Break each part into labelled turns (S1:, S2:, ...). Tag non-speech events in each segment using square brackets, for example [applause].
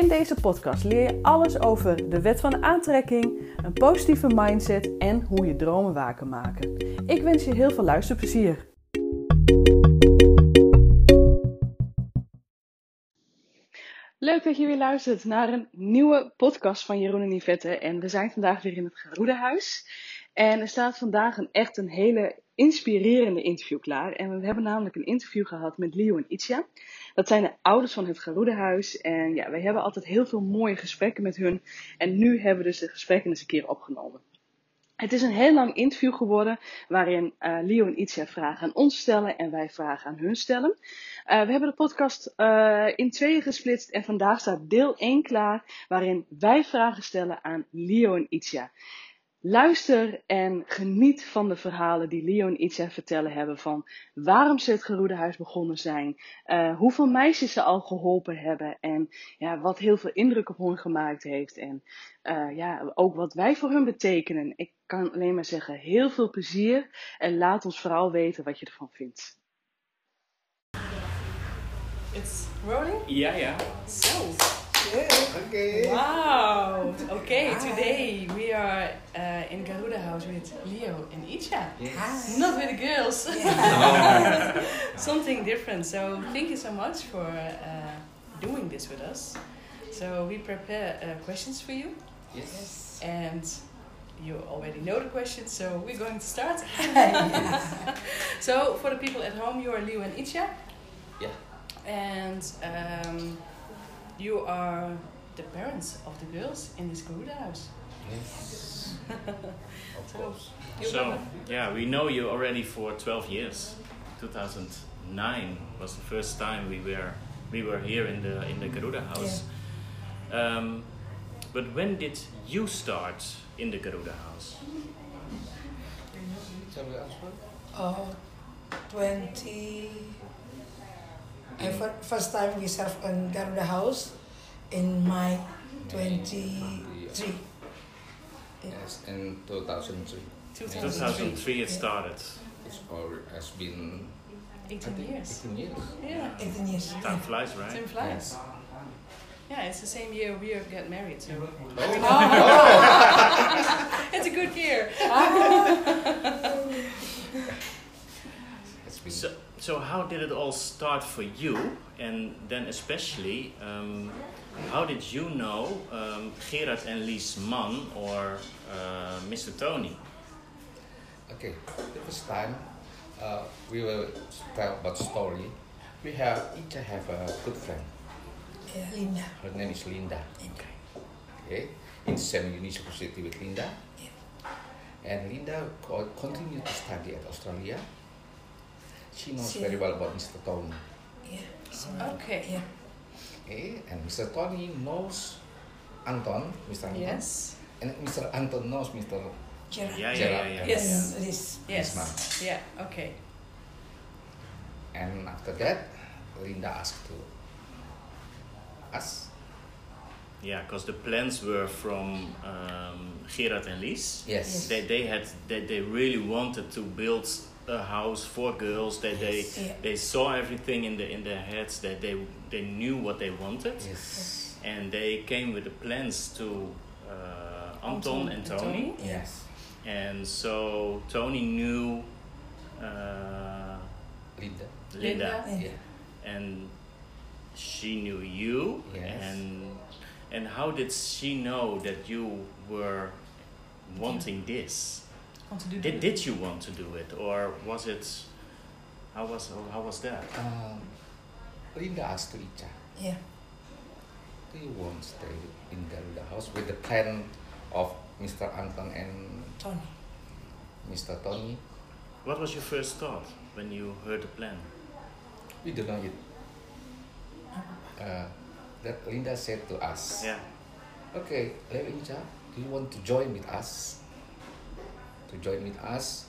S1: In deze podcast leer je alles over de wet van aantrekking, een positieve mindset en hoe je dromen waar kan maken. Ik wens je heel veel luisterplezier. Leuk dat je weer luistert naar een nieuwe podcast van Jeroen en Yvette. En we zijn vandaag weer in het Geroedehuis. En er staat vandaag een, echt een hele inspirerende interview klaar. En we hebben namelijk een interview gehad met Leo en Itja. Dat zijn de ouders van het Garoedehuis. En ja, wij hebben altijd heel veel mooie gesprekken met hun. En nu hebben we dus de gesprekken eens een keer opgenomen. Het is een heel lang interview geworden, waarin eh, Leo en Itja vragen aan ons stellen en wij vragen aan hun stellen. Eh, we hebben de podcast eh, in tweeën gesplitst en vandaag staat deel 1 klaar, waarin wij vragen stellen aan Leo en Itja. Luister en geniet van de verhalen die Leo en Itja vertellen hebben van waarom ze het Geroedehuis begonnen zijn, eh, hoeveel meisjes ze al geholpen hebben en ja, wat heel veel indruk op hun gemaakt heeft en eh, ja, ook wat wij voor hun betekenen. Ik kan alleen maar zeggen, heel veel plezier en laat ons vooral weten wat je ervan vindt. It's rolling?
S2: Yeah, yeah.
S1: So,
S3: Okay.
S1: wow! Okay, today we are uh, in Garuda House with Leo and Itja. Not with the girls. [laughs] Something different. So thank you so much for uh, doing this with us. So we prepare uh, questions for you,
S2: Yes.
S1: and you already know the questions. So we're going to start. so for the people at home, you are Leo and Itja.
S2: Yeah.
S1: And um, you are the parents of the girls in this Garuda house.
S2: Yes. of
S1: So,
S2: course.
S1: You
S4: So,
S1: remember-
S4: yeah, we know you already for 12 years. 2009 was the first time we were we were here in the in
S1: Mm-hmm.
S4: the Garuda house. Um, but when did you start in the Garuda house?
S2: Shall we answer?
S3: Oh, 20. I fir- first time we serve on Garuda House in my 23.
S5: Yes, in 2003.
S1: 2003.
S4: 2003 it started.
S5: It's all has been
S1: 18 years.
S5: 18 years.
S1: Yeah,
S3: 18 years.
S4: Time flies, right?
S1: time flies. Yeah, it's the same year we got married. So. [laughs] Oh. it's a good year.
S5: Has been
S4: So, so how did it all start for you? And then especially, um, how did you know um, Gerard and Lies man or uh, Mr. Tony?
S5: okay. The first time, uh, we will tell about story. We have each have a good friend.
S3: Yeah, Linda.
S5: Her name is Linda.
S3: Okay.
S5: Okay, in same university with Linda. And Linda co- continued to study at Australia. She knows
S3: She-
S5: very well about Mr. Tony.
S3: Yeah. So,
S1: Okay.
S3: yeah.
S5: Okay, and Mr. Tony knows Anton, Mr. Anton.
S1: Yes.
S5: And Mr. Anton knows Mr.
S3: Gerard.
S4: Yeah, yeah, yeah, yeah.
S1: Yes.
S3: And Liz.
S1: Yes.
S5: Isma.
S1: Yeah. Okay.
S5: And after that, Linda asked to us.
S4: Yeah, because the plans were from um, Gerard and Lies.
S5: Yes.
S4: They, they had they, they really wanted to build a house for girls. That they
S3: Yes. Yeah.
S4: they saw everything in the in their heads. That they they knew what they wanted,
S5: Yes.
S4: and they came with the plans to uh,
S1: Anton
S4: Anton and Tony.
S5: Yes.
S4: And so Tony knew uh,
S5: Linda.
S4: Linda,
S1: Linda.
S3: Eh.
S5: Yeah.
S4: and she knew you.
S5: Yes.
S4: And and how did she know that you were wanting this?
S1: Want to do
S4: Did did you want to do it, or was it? How was how was that?
S5: Um, Linda asked to Icha,
S3: Yeah.
S5: do you want to stay in Garuda house with the plan of Mr. Anton and
S3: Tony.
S5: Mr. Tony?
S4: What was your first thought when you heard the plan?
S5: We don't know yet. Uh, that Linda said to us,
S4: Yeah.
S5: Okay, Levinja, do you want to join with us? To join with us,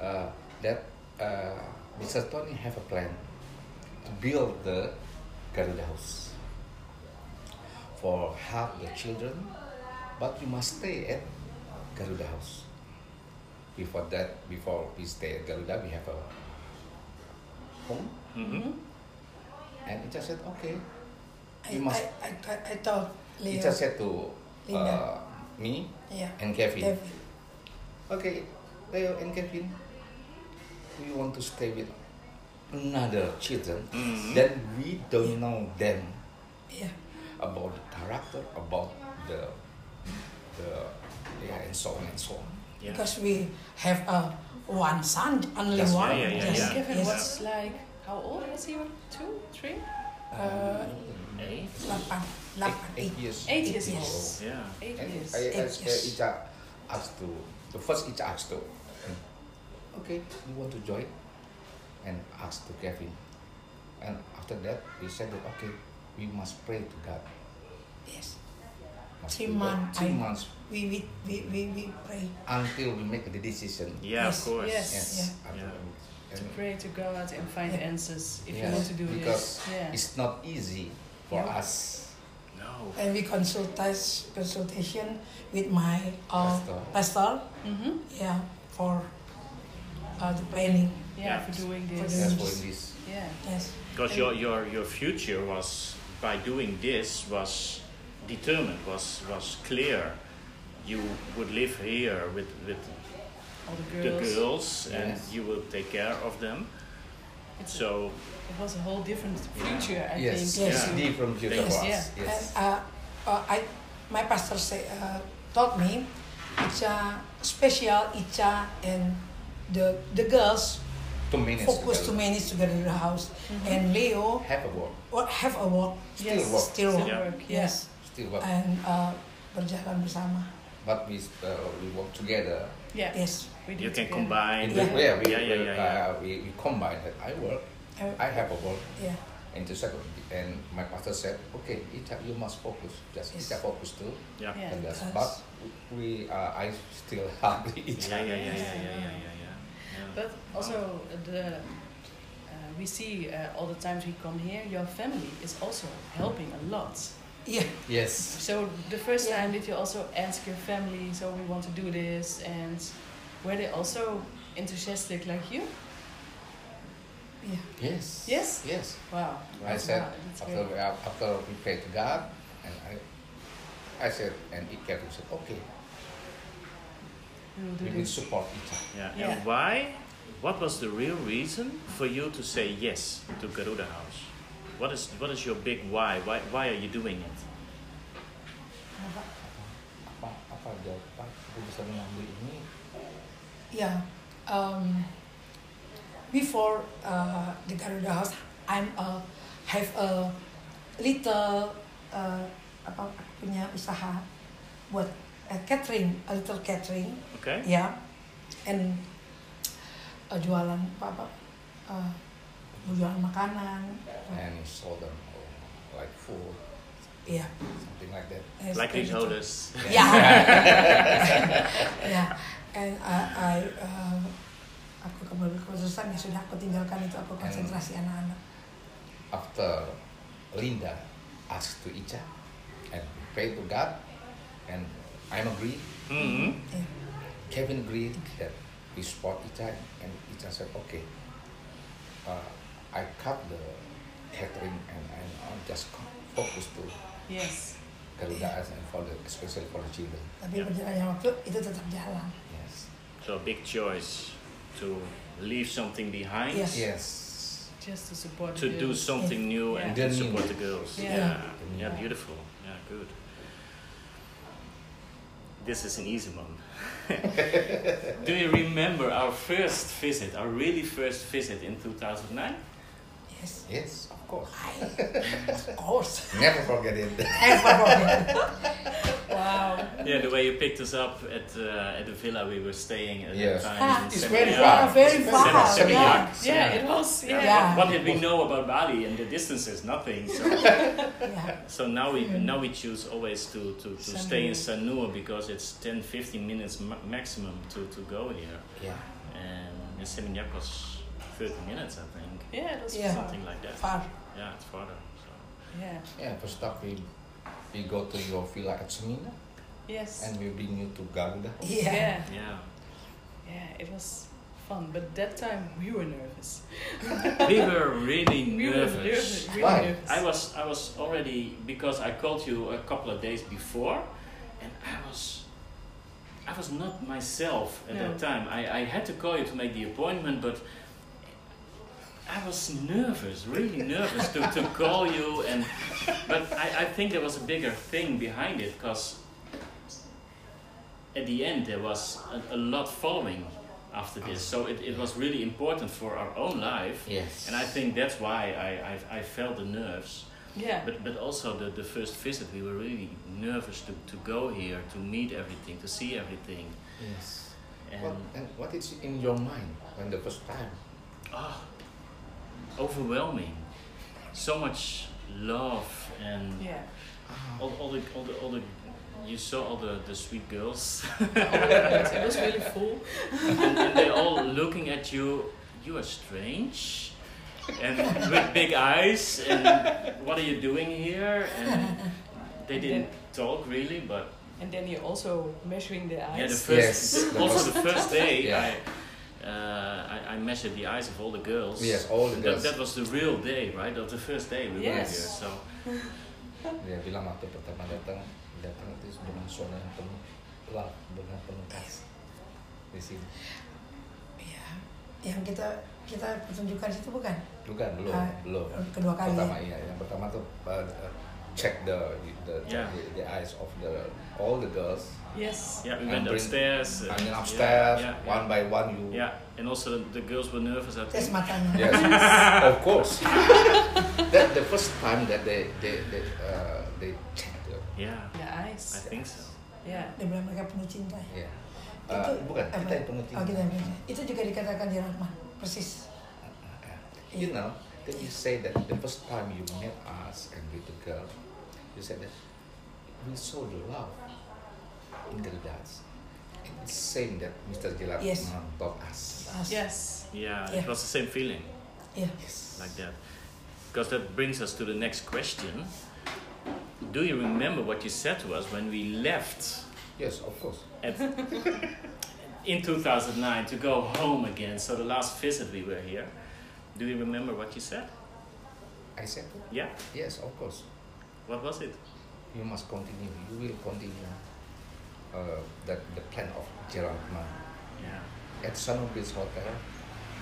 S5: uh, that uh, Mr. Tony have a plan to build the Garuda House for half the children, but you must stay at Garuda House. Before that, before we stay at Garuda, we have a home,
S4: hmm
S5: and it just said, okay.
S3: I,
S5: You must-
S3: I, I, thought- I thought
S5: It
S3: Leo.
S5: just said to uh,
S3: Linda.
S5: me
S3: Yeah.
S5: and Kevin.
S3: Kevin.
S5: Okay, Leo and Kevin, we want to stay with Mm-hmm. another children. Then we don't know them
S3: Yeah.
S5: about the character, about the the yeah, and so on and so on.
S4: Yeah.
S3: Because we have uh, one son, only
S5: That's
S3: one.
S5: right,
S4: yeah, yeah,
S3: yes.
S4: yeah.
S2: Kevin
S3: yes.
S2: was like, how old was he? Two, three,
S3: Uh,
S4: Eight.
S3: Lapan,
S5: Um, Eight,
S3: lapan, eight.
S5: eight years.
S2: Eight years
S3: Yes.
S5: old.
S4: Yeah.
S2: eight
S5: And
S2: years.
S5: I, I,
S3: Eight
S5: I,
S3: years.
S5: each are asked to the first each asked to. Okay, you want to join, and asked to Kevin, and after that we said that okay, we must pray to God.
S3: Yes.
S5: Must
S3: Three
S5: do that.
S3: months.
S5: Three
S3: I-
S5: months
S3: We, we, we, we, we pray.
S5: until we make the decision.
S4: Yeah, of
S3: Yes,
S4: course.
S2: yes.
S5: Yes.
S4: Yeah.
S5: And- and-
S2: Pray to God and find
S3: Yeah.
S2: answers if
S5: yes,
S2: you want to do
S5: because
S2: this. Yeah.
S5: it's not easy for
S3: No.
S5: us.
S4: No.
S3: And we consult consultation with my uh,
S5: Pastor.
S3: pastor.
S2: Mm-hmm.
S3: Yeah. For uh, the planning.
S2: Yeah,
S4: Yeah.
S2: for doing
S3: For
S2: this.
S5: That's
S3: doing
S5: why
S3: this.
S5: this.
S2: Yeah.
S3: Yes.
S4: Because your, your, your future was, by doing this, was determined, was, was clear. You would live here with, with
S2: All the
S4: the
S2: girls.
S4: girls and
S5: Yes.
S4: you will take care of them.
S2: It's a-
S4: So,
S2: it was a whole different
S4: Yeah.
S2: future, I
S5: Yes,
S2: think.
S3: Yes.
S5: it's different future
S4: Yes,
S5: for
S2: yeah.
S5: us. Yes.
S3: And uh, uh, I, my pastor say, uh, told me, it's uh, special, it's uh, and the, the girls
S5: Two minutes.
S3: focus to
S5: together.
S3: manage together in the house. And Leo
S5: Have a work.
S3: what have a walk,
S5: Still
S2: Yes.
S5: work. Oh.
S3: still
S2: Still
S3: walk,
S2: work.
S3: yes.
S5: Still work.
S3: And uh, berjalan bersama,
S5: But we uh, we work together.
S2: Yeah. yeah.
S3: yes.
S2: We
S4: you can
S2: did together.
S4: combine.
S5: Yeah, yeah, we,
S4: yeah, yeah, yeah, yeah.
S5: Uh, we, we combine that. I work.
S3: Uh,
S5: I have a work.
S3: yeah,
S5: And the second, and my pastor said, okay, Ita, you must focus. Just
S3: Yes.
S5: Ita focus too.
S4: Yeah.
S2: Yeah.
S5: And that's,
S3: Yes.
S5: but we, uh, I still [laughs] hug Ita.
S4: Yeah, yeah, yeah, yeah, yeah, yeah, yeah, yeah.
S2: But also the uh, we see uh, all the times we come here, your family is also helping a lot.
S3: yeah,
S5: Yes.
S2: So the first
S3: Yeah.
S2: time did you also ask your family, so we want to do this, and were they also enthusiastic like you?
S3: yeah.
S5: Yes.
S2: Yes?
S5: Yes.
S2: Wow.
S5: I said
S2: Wow, that's
S5: after
S2: great.
S5: we, after we prayed to God, and I, I said, and it kept said, okay,
S2: we will do
S5: we will
S2: this.
S5: support each other.
S4: Yeah.
S2: Yeah.
S4: And why? What was the real reason for you to say yes to Garuda House? What is what is your big why? Why why are you doing it?
S5: Apa apa jawaban aku bisa mengambil ini?
S3: Yeah. Ya, Um, before uh, the Garuda House, I'm uh, have a little uh, apa aku punya usaha buat uh, catering, a little catering,
S4: Okay.
S3: ya, yeah. and uh, jualan apa, apa uh, jualan makanan, Oh.
S5: And he sold them all, like food,
S3: ya. Yeah.
S5: something like that.
S3: Yes,
S4: Like these
S3: kayak gitu.
S4: holders. [laughs]
S5: [laughs] Ya.
S3: Yeah. yeah. Ya. And I, I uh, aku kembali keputusan ya sudah aku tinggalkan itu aku
S5: Hmm.
S3: konsentrasi anak-anak.
S5: After Linda asked to Icha and prayed to God, and I'm agree.
S4: hmm
S3: Yeah.
S5: Kevin agreed that we support Icha, and Icha said, okay, uh, I cut the catering and, and I'll just co- focus to
S2: Yes.
S5: Garuda as and for the, especially for the children.
S3: Tapi
S4: Yeah.
S3: berjalannya waktu itu tetap jalan.
S5: Yes.
S4: So big choice to leave something behind
S3: Yes.
S5: Yes.
S2: Just to support.
S4: to
S2: the-
S4: do something new and
S5: Yeah.
S4: to support the girls.
S2: Yeah.
S4: Yeah.
S5: Yeah.
S4: Yeah, beautiful. Yeah, good. This is an easy one. [laughs] do you remember our first visit, our really first visit in 2009?
S3: Yes.
S5: Yes, of course.
S3: I, of course. [laughs] Eh,
S5: Never forget it.
S3: Ever forget. Wow.
S4: Yeah, the way you picked us up at uh, at the villa we were staying at
S5: Yes.
S4: the time.
S3: Ah,
S4: in
S5: it's
S4: Seminyak.
S5: very
S3: Yeah,
S5: far.
S3: very
S5: It's
S3: far.
S5: Seminyak.
S3: Yeah.
S4: Seminyak.
S2: Yeah, it was. Yeah.
S3: Yeah.
S4: What did we know about Bali and the distances? Nothing. So
S3: Yeah.
S4: So now we now we choose always to, to, to stay in Sanur because it's 10 15 minutes ma- maximum to, to go here.
S5: Yeah.
S4: And the Seminyak was 30 minutes, I think.
S2: Yeah, it was
S3: Yeah.
S2: fun.
S4: Something like that.
S3: Far.
S4: Yeah, it's farther. So.
S2: Yeah.
S5: Yeah, first up we we go to your villa at Semina
S2: Yes.
S5: and we bring you to Garuda.
S3: Yeah.
S5: Ya.
S2: yeah.
S4: Yeah.
S2: Yeah, it was fun. But that time we were
S4: [laughs]
S2: nervous.
S4: we were really
S2: We
S4: nervous.
S2: were nervous. Really
S5: Why?
S2: nervous.
S4: I was I was already because I called you a couple of days before and I was I was not myself at
S2: No.
S4: that time. I, I had to call you to make the appointment but I was nervous, really nervous to, to call you and but I, I think there was a bigger thing behind it because at the end there was a, a lot following after this. So it, it was really important for our own life.
S5: Yes.
S4: And I think that's why I, I, I felt the nerves.
S2: yeah.
S4: But, but also the, the first visit, we were really nervous to, to go here, to meet everything, to see everything.
S5: yes.
S4: And
S5: What, and what is in your mind when the first time?
S4: ah, overwhelming. So much love and [laughs]
S2: yeah.
S4: all, all, the, all, the, all the, you saw all the, the sweet girls [laughs]
S2: it was really full.
S4: and, and they all looking at you. You are strange, and with big eyes. And what are you doing here? And they didn't talk really, but
S2: And then you're also measuring the eyes.
S4: yeah, the
S5: Yes.
S4: first also the first day
S5: Yeah.
S4: I, uh, I I measured the eyes of all the girls.
S5: Yes, all the
S4: That,
S5: girls.
S4: that was the real day, right? Of the first day we were
S2: Yes.
S4: here. So
S5: Dia bilang waktu pertama datang, datang itu dengan suara yang penuh love, dengan penuh kasih di sini.
S3: Iya. Yang kita kita pertunjukan itu bukan?
S5: Bukan, kan belum,
S3: Ah,
S5: belum.
S3: kedua kali. ya?
S5: Pertama iya, yang pertama tuh uh, uh, check the the,
S4: Yeah.
S5: the the eyes of the all the girls.
S2: Yes.
S4: yeah, we
S5: And
S4: went
S5: bring-
S4: upstairs. uh,
S5: And then
S4: yeah,
S5: upstairs,
S4: yeah, yeah.
S5: one by one you.
S4: Yeah, and also the, the girls were nervous. I
S3: Tes
S4: think.
S3: matanya.
S5: Yes, [laughs] of course. [laughs] that the first time that they they they uh, they check the
S4: Yeah,
S2: The
S4: I
S2: eyes.
S4: think so.
S2: Yeah.
S3: Dia bilang mereka penuh cinta. ya.
S5: yeah. Uh, bukan
S3: apa?
S5: kita yang penuh
S3: Oh, kita
S5: cinta.
S3: yang penuh cinta. Itu juga dikatakan di Rahman. Persis.
S5: You know, then you say that the first time you met us and with the girl, you said that we saw the love in the regards. It's same that Mr. Jilat
S3: Yes.
S5: taught us.
S3: Us.
S2: Yes.
S4: Yeah, it
S3: Yeah.
S4: was the same feeling.
S3: Iya.
S5: Yes.
S4: like that. Because that brings us to the next question. Do you remember what you said to us when we left
S5: Yes, of course.
S4: at, in 2009 to go home again? So the last visit we were here. Do you remember what you said?
S5: I said that.
S4: Yeah.
S5: Yes, of course.
S4: What was it?
S5: You must continue. You will continue. Uh, that the plan of Gerald Mann.
S4: Yeah.
S5: at Sun Beach Hotel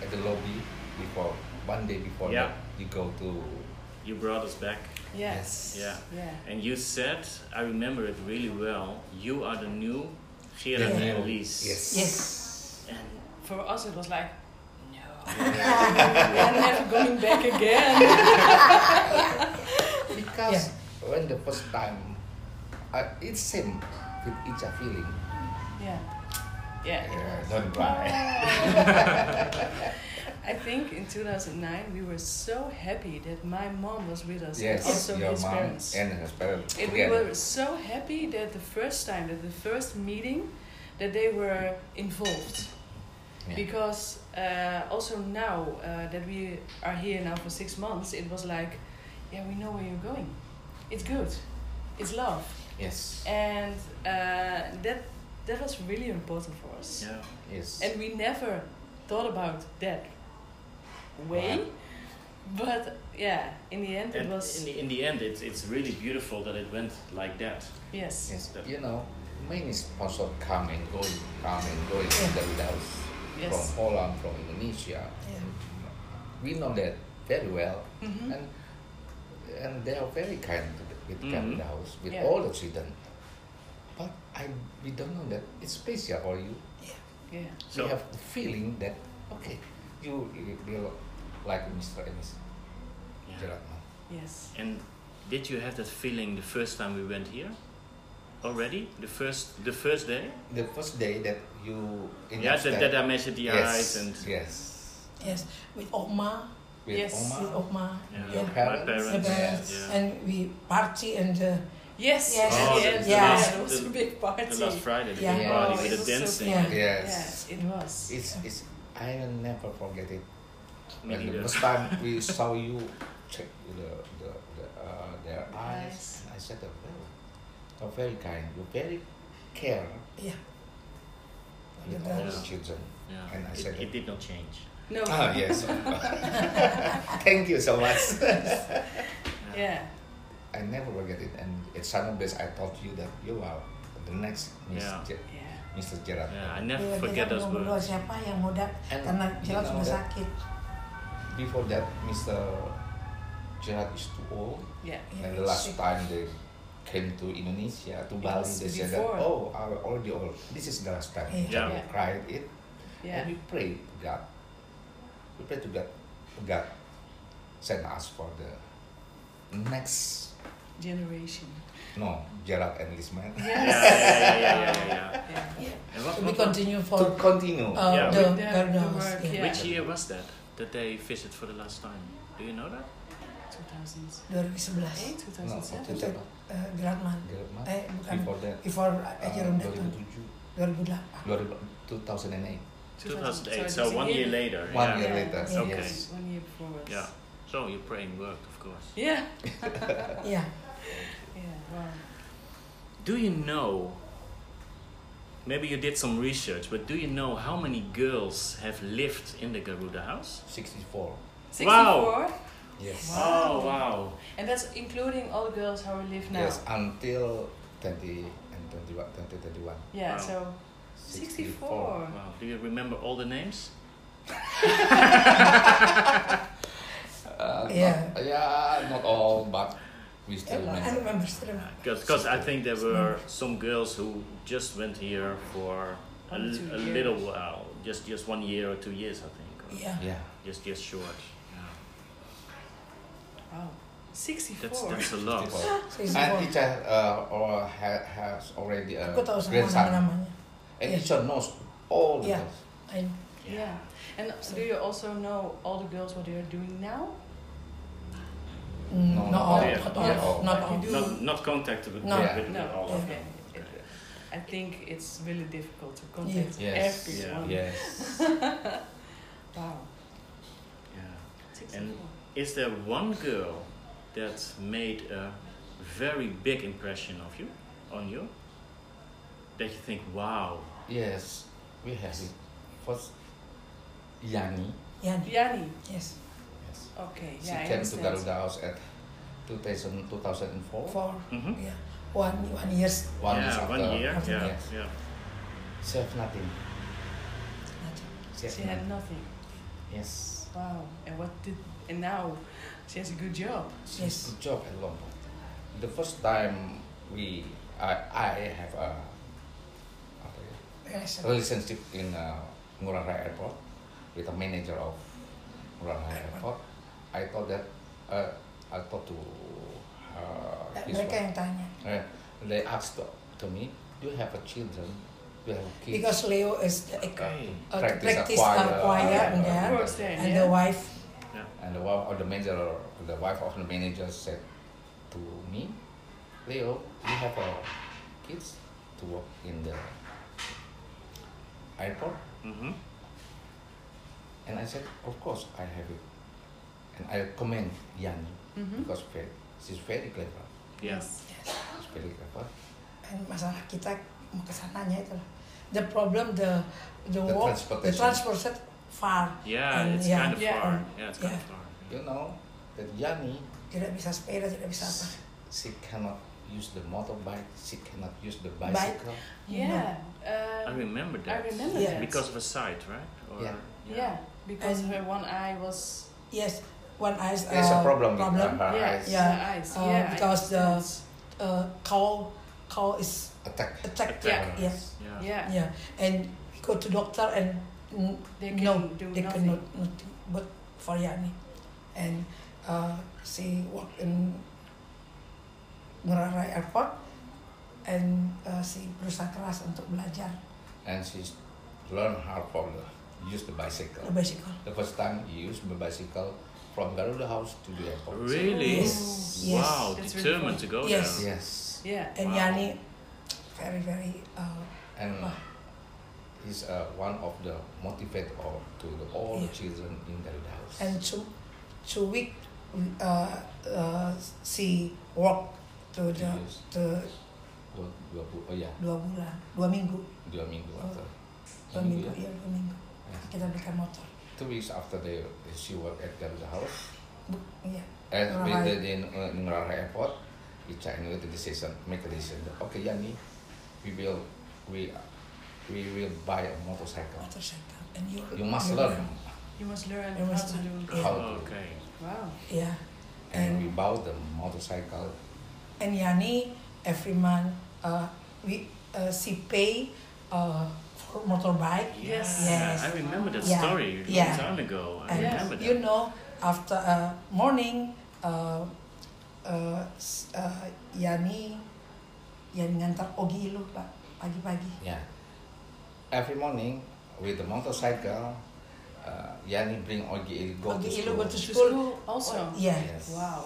S5: at the lobby before one day before
S4: Yeah.
S5: that you go to
S4: You brought us back.
S2: Yes.
S4: Yeah.
S2: Yeah.
S4: And you said, I remember it really well. You are the new Gerard
S3: Yeah.
S4: and Elise.
S5: yes
S3: Yes.
S4: And
S2: For us, it was like, no, [laughs] we're never going back again.
S5: because when the first time uh, it's same with each a feeling
S2: Yeah. Yeah.
S5: yeah, don't cry
S2: [laughs] I think in 2009 we were so happy that my mom was with us
S5: yes
S2: and also
S5: your
S2: his
S5: mom
S2: parents.
S5: and her parents
S2: And we
S5: together.
S2: were so happy that the first time, that the first meeting, that they were involved.
S5: Yeah.
S2: Because uh, also now uh, that we are here now for six months, it was like, yeah, we know where you're going. It's good. It's love.
S5: yes
S2: And uh, that that was really important for us.
S4: yeah.
S5: yes
S2: And we never thought about that way. But yeah, in the end, it
S4: And in
S2: was
S4: the, in the end, it's, it's really beautiful that it went like that.
S2: yes.
S5: yes
S4: that-
S5: you know many sponsors come and go come and go in the results
S2: Yes.
S5: from Holland from Indonesia
S3: Iya.
S5: we know that very well
S2: Mhm.
S5: and and they are very kind to the, with
S4: Mhm.
S5: Camp Laos, with
S2: Yeah.
S5: all the children. But I we don't know that it's special for you.
S2: Yeah.
S4: So-
S5: we have the feeling that okay, you you you like Mr. Ennis
S4: Yeah.
S5: Gerard Mann.
S2: Yes.
S4: And did you have that feeling the first time we went here? already the first the first day.
S5: The first day that you in
S4: Yeah, that, that I
S5: Amsterdam-
S4: measured the
S5: yes,
S4: eyes and
S5: yes,
S3: Yes, with Oma,
S5: with
S2: Yes.
S3: with
S5: Oma,
S3: Oma.
S4: yeah,
S5: Your
S4: my
S5: parents?
S3: The
S4: parents.
S3: parents.
S5: Yes.
S4: Yeah.
S3: And we party and uh,
S2: Yes,
S3: Yes.
S4: Oh, the-
S2: yes, yes.
S4: the
S2: yeah,
S4: last-
S2: it was
S4: the-
S2: a big party.
S4: The last Friday, the
S3: Yeah.
S4: big
S5: Yeah.
S4: party
S2: Oh, it
S4: with the
S2: was so
S4: dancing.
S3: fun.
S5: yes.
S2: Yes, it was.
S5: It's it's I will never forget it.
S4: Me
S5: When the
S4: neither.
S5: first time we saw you check the the, the uh, their eyes, I said, oh, well, you're very kind. You very care
S3: yeah.
S5: with
S3: Yeah.
S5: all these children.
S4: Yeah.
S5: And I
S4: It-
S5: said
S4: it,
S5: that-
S4: did not change.
S2: No.
S5: Ah yes. [laughs] Thank you so much. [laughs]
S2: Yeah.
S5: I never forget it. And at some days I taught you that you are the next Miss
S4: Yeah.
S5: Je-
S2: Yeah.
S5: Mr. Gerard.
S4: Yeah, I never
S3: Dia
S4: forget
S3: banyak
S2: "Oh
S4: those
S3: ngobrol
S4: words.
S3: siapa yang mau dat
S5: And
S3: karena
S5: you
S3: Gerald
S5: know
S3: sudah
S5: that-
S3: sakit.
S5: Before that, Mr. Gerard is too old.
S2: Yeah.
S3: Yeah,
S5: And the
S3: it's
S5: last
S3: sick.
S5: time they came to Indonesia, to Bali,
S2: was
S5: they said that,
S2: before.
S5: oh, I'm already old. This is the last time.
S3: Yeah.
S4: Yeah.
S5: We
S2: Yeah.
S5: cried it, and
S2: Yeah.
S5: we prayed to God. We prayed to God. God send us for the next,
S2: Generation.
S5: no, Gerard and Lisman.
S4: Yeah, yeah, yeah, yeah, yeah, yeah.
S2: Yeah.
S4: And what,
S3: We
S4: what-
S3: continue
S5: to
S3: for
S5: continue.
S2: Oh,
S3: uh,
S4: Yeah,
S3: the
S2: with the-
S3: garden
S2: the
S3: house.
S2: work,
S3: yeah.
S2: yeah.
S4: which year was that that they visit for the last time? Do you know that?
S2: 2008, Eh?
S3: 2011.
S5: no,
S2: 2007.
S5: Gerard,
S3: Eh, Gerald Man.
S5: Gerard,
S3: Eh bukan
S5: before that,
S3: before
S5: uh,
S3: Jerome datang.
S5: 2007,
S3: 2008.
S5: 2000 2008,
S4: 2008.
S2: it
S4: So
S2: was a
S4: one year later.
S5: one
S4: yeah.
S5: year
S2: Yeah.
S5: later.
S3: Yeah.
S4: Okay.
S5: Yes.
S2: One year before us.
S4: Yeah. So your praying worked, of course.
S2: Yeah.
S5: Ah,
S3: Iya.
S2: Yeah. Wow.
S4: Do you know? Maybe you did some research, but do you know how many girls have lived in the Garuda house?
S5: 64.
S2: 64.
S4: Wow.
S5: Yes.
S2: Wow.
S4: Oh wow!
S2: And that's including all the girls how we live now.
S5: Yes, until 20 and 21, 2021.
S4: Wow.
S2: Yeah, so 64.
S4: Wow. Do you remember all the names?
S5: Uh,
S3: Yeah.
S5: Not, yeah, not all, but we still
S3: I
S5: remember.
S3: remember still.
S4: Because I think there were some girls who just went here for a,
S2: One or two
S4: a
S2: years.
S4: little while, just just one year or two years, I think, or
S3: Iya.
S5: Yeah.
S4: just just short. Yeah.
S2: Wow. 64.
S4: That's that's a
S2: Oh.
S4: lot.
S5: 64. And
S3: Saya
S5: each child uh, or ha- has already a
S3: Aku tahu semua
S5: grandson.
S3: nama-namanya.
S5: And
S3: Yeah.
S5: each child knows all the
S3: Yeah.
S5: girls.
S3: I
S2: yeah. And do you also know all the girls what they are doing now?
S3: Mm,
S5: No,
S3: not all,
S4: yeah,
S3: not
S5: yeah, oh,
S3: all,
S5: all.
S3: not all.
S2: You do-
S4: Not not contacted with,
S3: No.
S4: with, with
S2: No.
S4: all of
S2: Okay.
S4: them. Okay.
S2: I think it's really difficult to contact
S5: Yes.
S2: everyone.
S5: Yes.
S2: Wow.
S4: Yeah.
S2: 64.
S4: Is there one girl that made a very big impression of you, on you, that you think, wow,
S5: yes. We have it. First, Yani.
S3: Yeah.
S2: Yanni.
S3: Yes.
S5: Yes.
S2: Okay.
S5: She
S2: yeah, I
S5: came to
S2: understand.
S5: Garuda House at 2000, 2004.
S3: For
S4: Mhm.
S3: yeah. Iya. One one years.
S5: One,
S4: yeah,
S5: is after,
S4: one year,
S3: after
S4: yeah,
S5: yes.
S4: yeah,
S5: She have nothing.
S3: Nothing.
S5: She have
S2: She
S5: nothing.
S2: had nothing.
S5: Yes.
S2: Wow. And what did? And now, she has a good job.
S3: Yes.
S5: Good job at Lombok. The first time we, I, I have a apa ya,
S3: Yes.
S5: relationship in uh, Ngurah Rai Airport with a manager of Ngurah Rai Airport. I thought that uh, I thought to uh, his
S3: Ya, Mereka
S5: wife.
S3: yang tanya.
S5: Uh, they asked to, to me, do you have a children? Do you have kids?
S3: Because Leo is the
S5: Okay.
S3: uh, to
S5: Practice
S3: practice
S5: acquire,
S3: our choir
S5: yeah.
S3: in there,
S2: Works there,
S3: and
S2: yeah.
S3: the wife.
S5: And the wife of the manager, the wife of the manager said to me, Leo, you have a kids to work in the airport?
S4: hmm
S5: And I said, of course I have it. And I commend Yani because ve- she's very clever.
S4: yeah,
S5: She's very clever.
S3: And masalah kita mau kesananya itu lah. The problem the the,
S5: The
S3: walk the
S5: transportation.
S3: transport set far.
S4: yeah.
S3: And
S4: it's
S3: yeah,
S4: kind of
S2: yeah,
S4: far.
S3: and-
S4: Yeah, it's kind of
S3: yeah.
S4: far.
S5: You know that Yani,
S3: Tidak bisa sepeda, tidak bisa apa.
S5: she cannot use the motorbike, she cannot use the bicycle.
S2: Yeah.
S4: I
S2: Um,
S4: remember
S2: I
S4: that
S2: remember
S3: Yeah.
S2: that.
S4: because of a sight, right? Or,
S5: Yeah.
S2: Um, yeah. because her one eye was
S3: Yes, one eyes.
S5: There's a
S3: uh,
S5: problem, with her, her
S2: yeah,
S5: eyes
S3: Yeah.
S2: the eyes.
S3: Uh,
S2: yeah, I
S3: because the-
S2: understand.
S3: Uh, cow cow is
S5: attack.
S3: attacked.
S2: Yeah.
S3: Yes.
S4: yeah,
S2: yeah,
S3: Yeah. And we go to doctor and mm,
S2: They can
S3: no,
S2: do
S3: they
S2: nothing.
S3: cannot nothing. But for Yani, and uh, she work in Ngurah Rai Airport. and uh, she berusaha keras untuk belajar
S5: and she learned how to use the bicycle.
S3: the bicycle.
S5: The first time he used the bicycle from Garuda House to the airport.
S4: Really?
S3: Yes. Yes.
S4: Wow,
S2: That's really
S4: determined
S2: fun.
S4: to go
S3: Yes.
S4: there.
S5: Yes.
S2: Yeah.
S3: And
S4: Wow.
S3: Yani very very uh,
S5: And
S3: Wow.
S5: he's uh, one of the motivator to the, all the
S3: Yeah.
S5: children in Garuda House.
S3: and two two week uh, uh, she walk to the
S5: Yes.
S3: to
S5: dua, dua, bu- oh ya,
S3: dua bulan dua minggu
S5: dua minggu
S3: Oh.
S5: after.
S3: dua minggu ya dua minggu
S5: Yeah.
S3: kita belikan motor
S5: Two weeks after they, she was at Garuda House.
S3: Bu- iya
S5: And
S3: Ngurah Rai.
S5: with the, the uh, Ngurah Rai Airport, we try and make the decision, make a decision. that, Okay, Yani, we will, we, we will buy a motorcycle.
S3: motorcycle and you
S5: You must learn
S2: You must learn
S3: You must
S2: how to
S3: learn.
S2: do.
S5: how to.
S4: Oh, Okay.
S2: Wow.
S3: ya
S5: And we bought the motorcycle.
S3: and Yani every month uh, we uh, she pay uh, for motorbike
S2: Yes.
S3: Yes.
S4: I remember that
S3: Yeah.
S4: story a
S3: Yeah.
S4: long time ago. I
S3: and
S2: Yes.
S4: remember that.
S3: you know after uh, morning uh, uh, s- uh, Yani Yani ngantar Ogi lu pak pagi-pagi
S5: Yeah. Every morning with the motorcycle, uh, Yani bring Ogi go to
S3: Ogi Ilu
S5: school.
S3: go to
S2: To
S3: school
S2: school also.
S3: Oh, yeah
S5: Yes.
S2: Wow.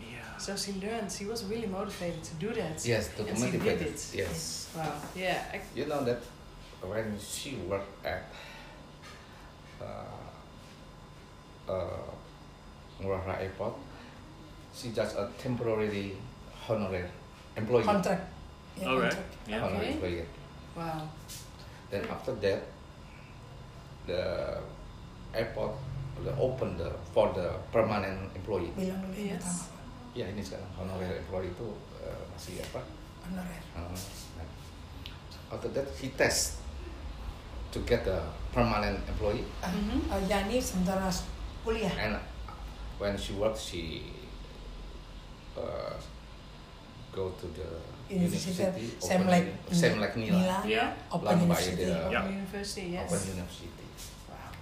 S4: Yeah.
S2: So she learned. She was really motivated to do that.
S5: Yes, to
S2: And she did
S5: motivate
S2: it.
S5: Yes.
S2: Wow. Yeah. I,
S5: You know that when she worked at uh, uh, Ngurah Rai Airport, she just a temporary honorary employee.
S3: contract yeah,
S4: All right.
S3: contract.
S4: Yeah.
S5: Honorary
S2: Okay.
S5: employee.
S2: wow.
S5: Then after that, the airport will open the for the permanent employee.
S3: bilang dulu yang
S2: Yes.
S3: pertama
S5: Ya ini sekarang honorary employee itu uh, masih apa?
S3: honorer
S5: Uh, nah. after that he test to get the permanent employee
S3: Ah, uh, Yani sementara kuliah
S5: and when she works she uh, go to the
S3: University,
S5: university,
S3: same
S5: open
S3: like
S5: uni- same like Nila,
S3: Nila
S4: Yeah.
S3: Open
S5: Lung by
S3: University
S5: the- Yeah. Oh,
S2: From University. Yes.
S5: open university.
S2: Wow.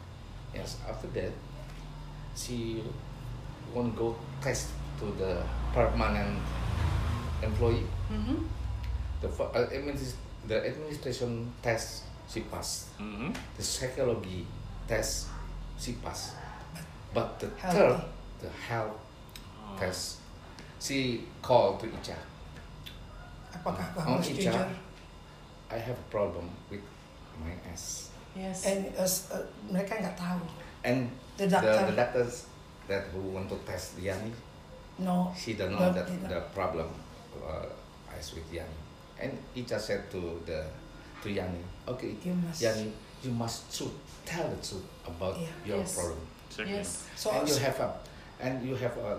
S5: Yes, after that, she won't go test to the permanent employee.
S2: Mm-hmm.
S5: The fir- uh, adminis- the administration test she passed.
S4: Mm-hmm.
S5: The psychology test she passed. But the
S3: Health.
S5: third, the health test, she called to Icha.
S3: apakah aku
S5: Oh,
S3: harus
S5: Ica.
S3: jujur
S5: I have a problem with my ass.
S2: Yes.
S3: and uh, s- uh, mereka nggak tahu
S5: And
S3: The
S5: the,
S3: doctor.
S5: the doctors that who want to test Yani
S3: no
S5: She don't know
S3: Don't
S5: that
S3: either.
S5: the problem uh, is with Yani. And Icha said to the to Yani, okay,
S3: You must-
S5: Yani, you must truth, tell the truth about
S3: Yeah.
S5: your
S2: Yes.
S5: problem.
S4: Exactly.
S2: yes.
S3: so
S5: and you have a, and you have a,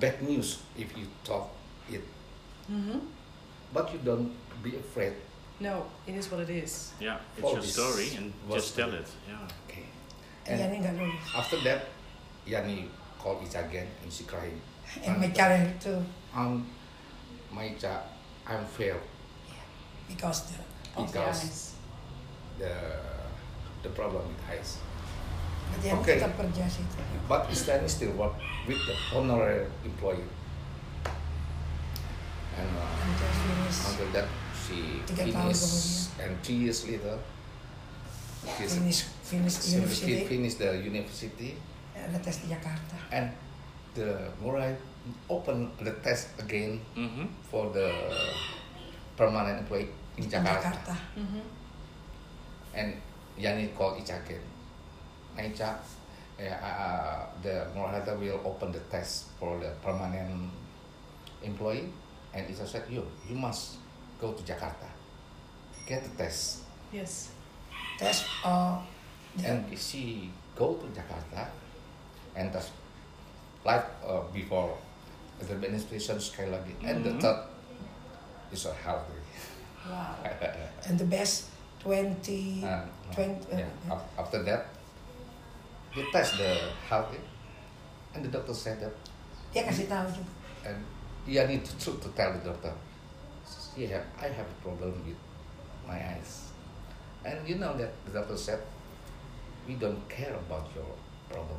S5: bad news if you talk it,
S2: Mm-hmm.
S5: but you don't be afraid.
S2: No, it is what it is.
S4: Yeah. It's
S5: Oh,
S4: your
S5: this
S4: story and
S5: was
S4: just tell
S5: the-
S4: it. Yeah.
S5: Okay. And
S3: Yani nggak lulus
S5: after that, Yani called Icha again and she crying.
S3: and mereka itu
S5: Um, my Icha, I'm failed
S3: because the
S2: Of the
S5: Because-
S2: eyes.
S5: the the problem with eyes.
S3: Jadi
S5: Okay.
S3: tetap kerja situ
S5: But Islam still work with the honorary employee. And uh,
S3: until finish
S5: until that, she
S3: Tiga tahun
S5: finished. And three years later, she's-
S3: finish finish
S5: she
S3: university
S5: finished the university
S3: ada tes di Jakarta
S5: and the Murai opened the test again
S4: Mm-hmm.
S5: for the permanent employee in Jakarta.
S2: Mm-hmm.
S5: And Yani called Icha again. Icha, eh, uh, the moderator will open the test for the permanent employee. And Icha said, you, you must go to Jakarta. Get the test.
S2: Yes.
S3: tes uh, di-
S5: And she go to Jakarta and the like uh, before the administration scale again. And the
S4: Mhm.
S5: third is a [laughs] healthy.
S2: Wow.
S5: [laughs]
S3: and the best 20
S5: Uh,
S3: 20
S5: yeah.
S3: uh,
S5: af- After that, they test the health, eh? and the doctor said that,
S3: dia kasih tahu juga
S5: and you need to truth to tell the doctor. She have, I have a problem with my eyes, and you know that the doctor said, we don't care about your problem.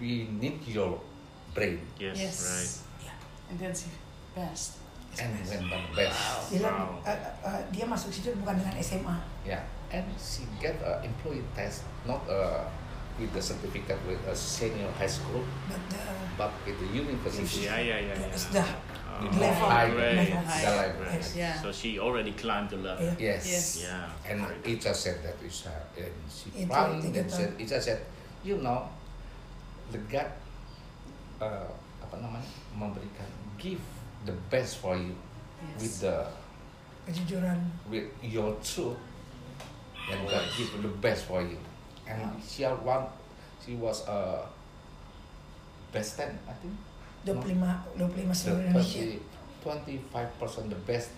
S5: We need your brain.
S4: Yes.
S2: yes. And that's the best.
S5: and went the best.
S3: Dia,
S4: Wow.
S3: bilang, eh, eh, eh, dia masuk situ bukan dengan SMA.
S5: Yeah, and she get a employee test, not uh, with the certificate with a senior high school,
S3: But the,
S5: but with the university.
S4: Yeah, yeah, yeah, yeah.
S3: sudah
S4: Oh,
S5: The
S3: Level.
S5: high,
S4: great.
S5: the
S3: Level.
S5: level.
S4: Great.
S2: Yeah.
S4: So she already climbed the level.
S3: Yeah.
S5: Yes.
S2: Yes.
S4: Yeah.
S5: Iya. And
S4: Very good.
S5: Ita said that is her, and she
S3: Ita,
S5: found
S3: Ita gitu.
S5: and said, Ita said, you know, the God, uh, apa namanya, memberikan give the best for you with
S2: Yes.
S5: the
S3: kejujuran.
S5: with your truth and God
S4: Always.
S5: give the best for you. And she had one, she was uh, best ten, I think.
S3: 25 25
S5: The
S3: seluruh Indonesia.
S5: 25 percent the best.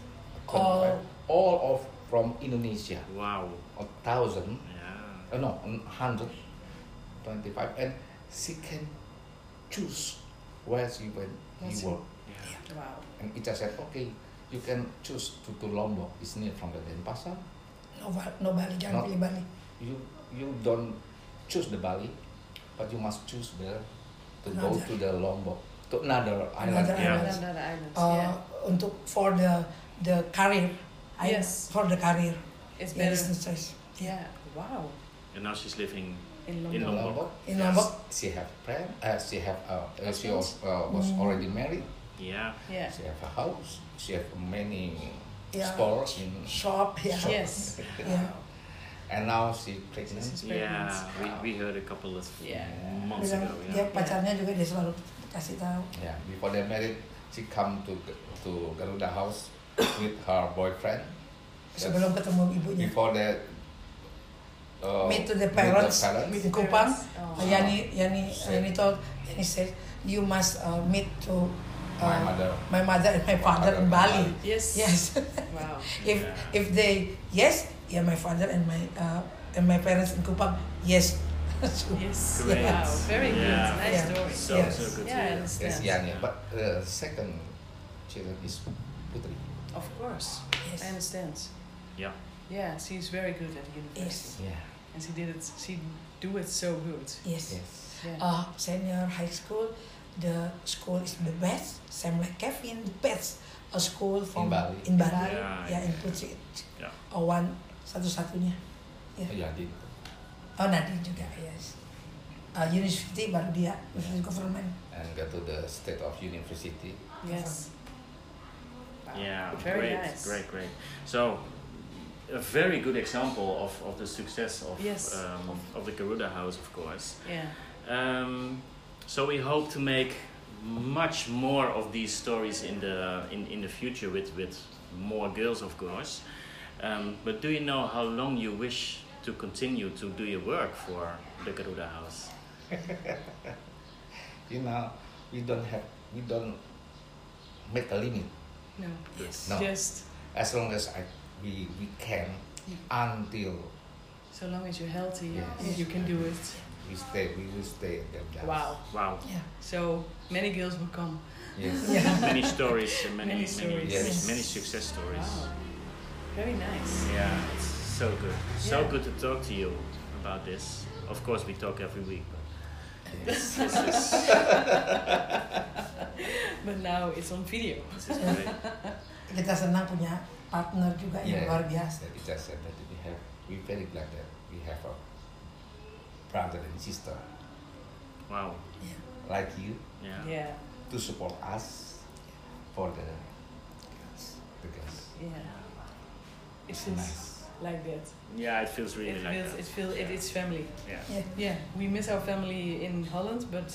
S3: All.
S5: 25, all of from Indonesia,
S4: Wow.
S5: a thousand.
S4: Yeah.
S5: uh, no, 125, and she can choose where she went,
S2: That's
S5: he work.
S4: Yeah.
S2: Wow.
S5: And it just said, okay, you can choose to, to Lombok, it's near from the Denpasar.
S3: No, Ba- no Bali, jangan
S5: Not-
S3: pilih Bali.
S5: You you don't choose the Bali, but you must choose the to go
S3: Another.
S5: to the Lombok to another island.
S3: Another
S4: Yeah.
S3: island.
S2: Another island.
S3: Uh,
S2: yeah.
S3: Untuk for the the career. I-
S2: Yes.
S3: For the career.
S2: It's
S3: Yeah,
S2: better.
S3: business choice.
S2: Yeah. Wow.
S4: And now she's living
S2: In London.
S4: in
S5: In
S4: Lombok.
S5: Lombok,
S3: In Lombok.
S5: she have friend, uh, she have uh, uh, she was, uh, was
S3: Mm.
S5: already married.
S4: Yeah.
S2: Yeah.
S5: She have a house. She have many
S3: Yeah.
S5: stores in
S3: Shop, ya. yeah.
S5: Shop. ya.
S2: Yes.
S3: Yeah.
S5: And now she pregnant.
S2: This is-
S4: Yeah.
S5: Pregnant.
S4: We, we heard a couple of
S2: Yeah.
S4: months
S3: Bilang
S4: ago.
S3: dia
S5: ya.
S4: Yeah.
S3: pacarnya juga dia selalu kasih tahu.
S5: Yeah, before they married, she come to to Garuda house with her boyfriend. That's-
S3: Sebelum ketemu ibunya.
S5: before they uh,
S3: meet to the parents,
S5: Meet the parents.
S3: in Kupang.
S2: Oh.
S3: Yani, Yani,
S5: Said.
S3: Yani told, Yani said, you must uh, meet to uh,
S5: My mother.
S3: my mother and my father in Bali.
S2: Yes.
S3: Yes.
S2: Wow.
S3: if
S4: Yeah.
S3: if they yes, yeah, my father and my uh, and my parents in Kupang. Yes. [laughs] So,
S2: Yes.
S4: Great.
S2: Wow. Very
S4: Yeah.
S2: good. Nice
S3: Yeah.
S2: story.
S4: So
S3: Yes.
S4: so good.
S2: yeah, I
S4: to hear.
S5: Yes,
S2: understand.
S5: yeah, yeah. But the second children is Putri.
S2: Of course.
S3: Yes.
S2: I understand.
S4: Yeah.
S2: Yeah, she's very good at university.
S5: Yeah.
S2: And she did it she do it so good.
S3: yes.
S5: Yes.
S2: Yeah.
S3: Uh, senior high school, the school is the best. Same like Kevin, the best. A school from
S5: Bali.
S3: in Bali,
S4: Yeah,
S3: yeah, in
S4: yeah.
S3: Putri,
S4: Yeah.
S3: uh, one satu-satunya.
S5: Yeah, did.
S3: Oh Nadine juga yes. Uh, university baru dia university government.
S5: And go to the state of university.
S2: Yes. Wow.
S4: Yeah, great,
S2: Very nice.
S4: great, great. So, a very good example of, of the success of,
S2: Yes.
S4: um, of, the Garuda House, of course.
S2: Yeah.
S4: Um, so we hope to make much more of these stories in the in, in the future with with more girls, of course. Um, but do you know how long you wish to continue to do your work for the Garuda House?
S5: You know, we don't have, we don't make a limit.
S2: No.
S4: Yes.
S5: No.
S2: Just
S5: As long as I, we, we can until
S2: so long as you're healthy,
S5: Yes.
S2: you can do it.
S5: we stay, we will stay at that place.
S2: Wow.
S4: Wow.
S3: Yeah.
S2: So many girls will come.
S5: Yes.
S2: [laughs]
S4: Many stories, and many many
S2: Many stories.
S5: Yes.
S4: many success stories.
S2: Wow. Very nice.
S4: Yeah, it's so good. So
S2: Yeah.
S4: good to talk to you about this. Of course, we talk every week. But
S5: Yes.
S4: this, this is,
S2: But now it's on video.
S4: this is great.
S2: [laughs]
S3: Kita senang punya partner juga yang
S5: Yeah.
S3: luar biasa.
S5: That is just said that we have, we very glad that we have a brother and sister
S4: Wow.
S5: like you
S4: Yeah.
S2: Yeah. Yeah.
S5: to support us for the girls. The girls.
S2: It
S5: It's
S2: feels
S5: nice.
S2: like that.
S4: Yeah, it feels really
S2: it
S4: like
S2: feels
S4: that.
S2: it feels it is family.
S4: Yeah.
S3: Yeah.
S2: Yeah, we miss our family in Holland, but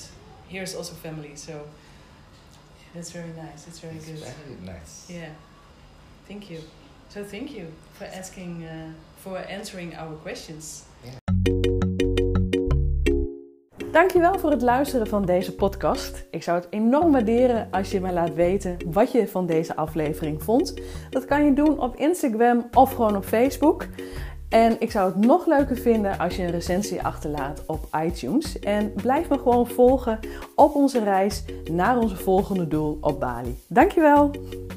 S2: here's also family, so that's very nice. It's very
S5: it's
S2: good.
S5: very nice.
S2: Yeah, thank you. So thank you for asking uh, for answering our questions.
S1: Dankjewel voor het luisteren van deze podcast. Ik zou het enorm waarderen als je mij laat weten wat je van deze aflevering vond. Dat kan je doen op Instagram of gewoon op Facebook. En ik zou het nog leuker vinden als je een recensie achterlaat op iTunes. En blijf me gewoon volgen op onze reis naar onze volgende doel op Bali. Dankjewel!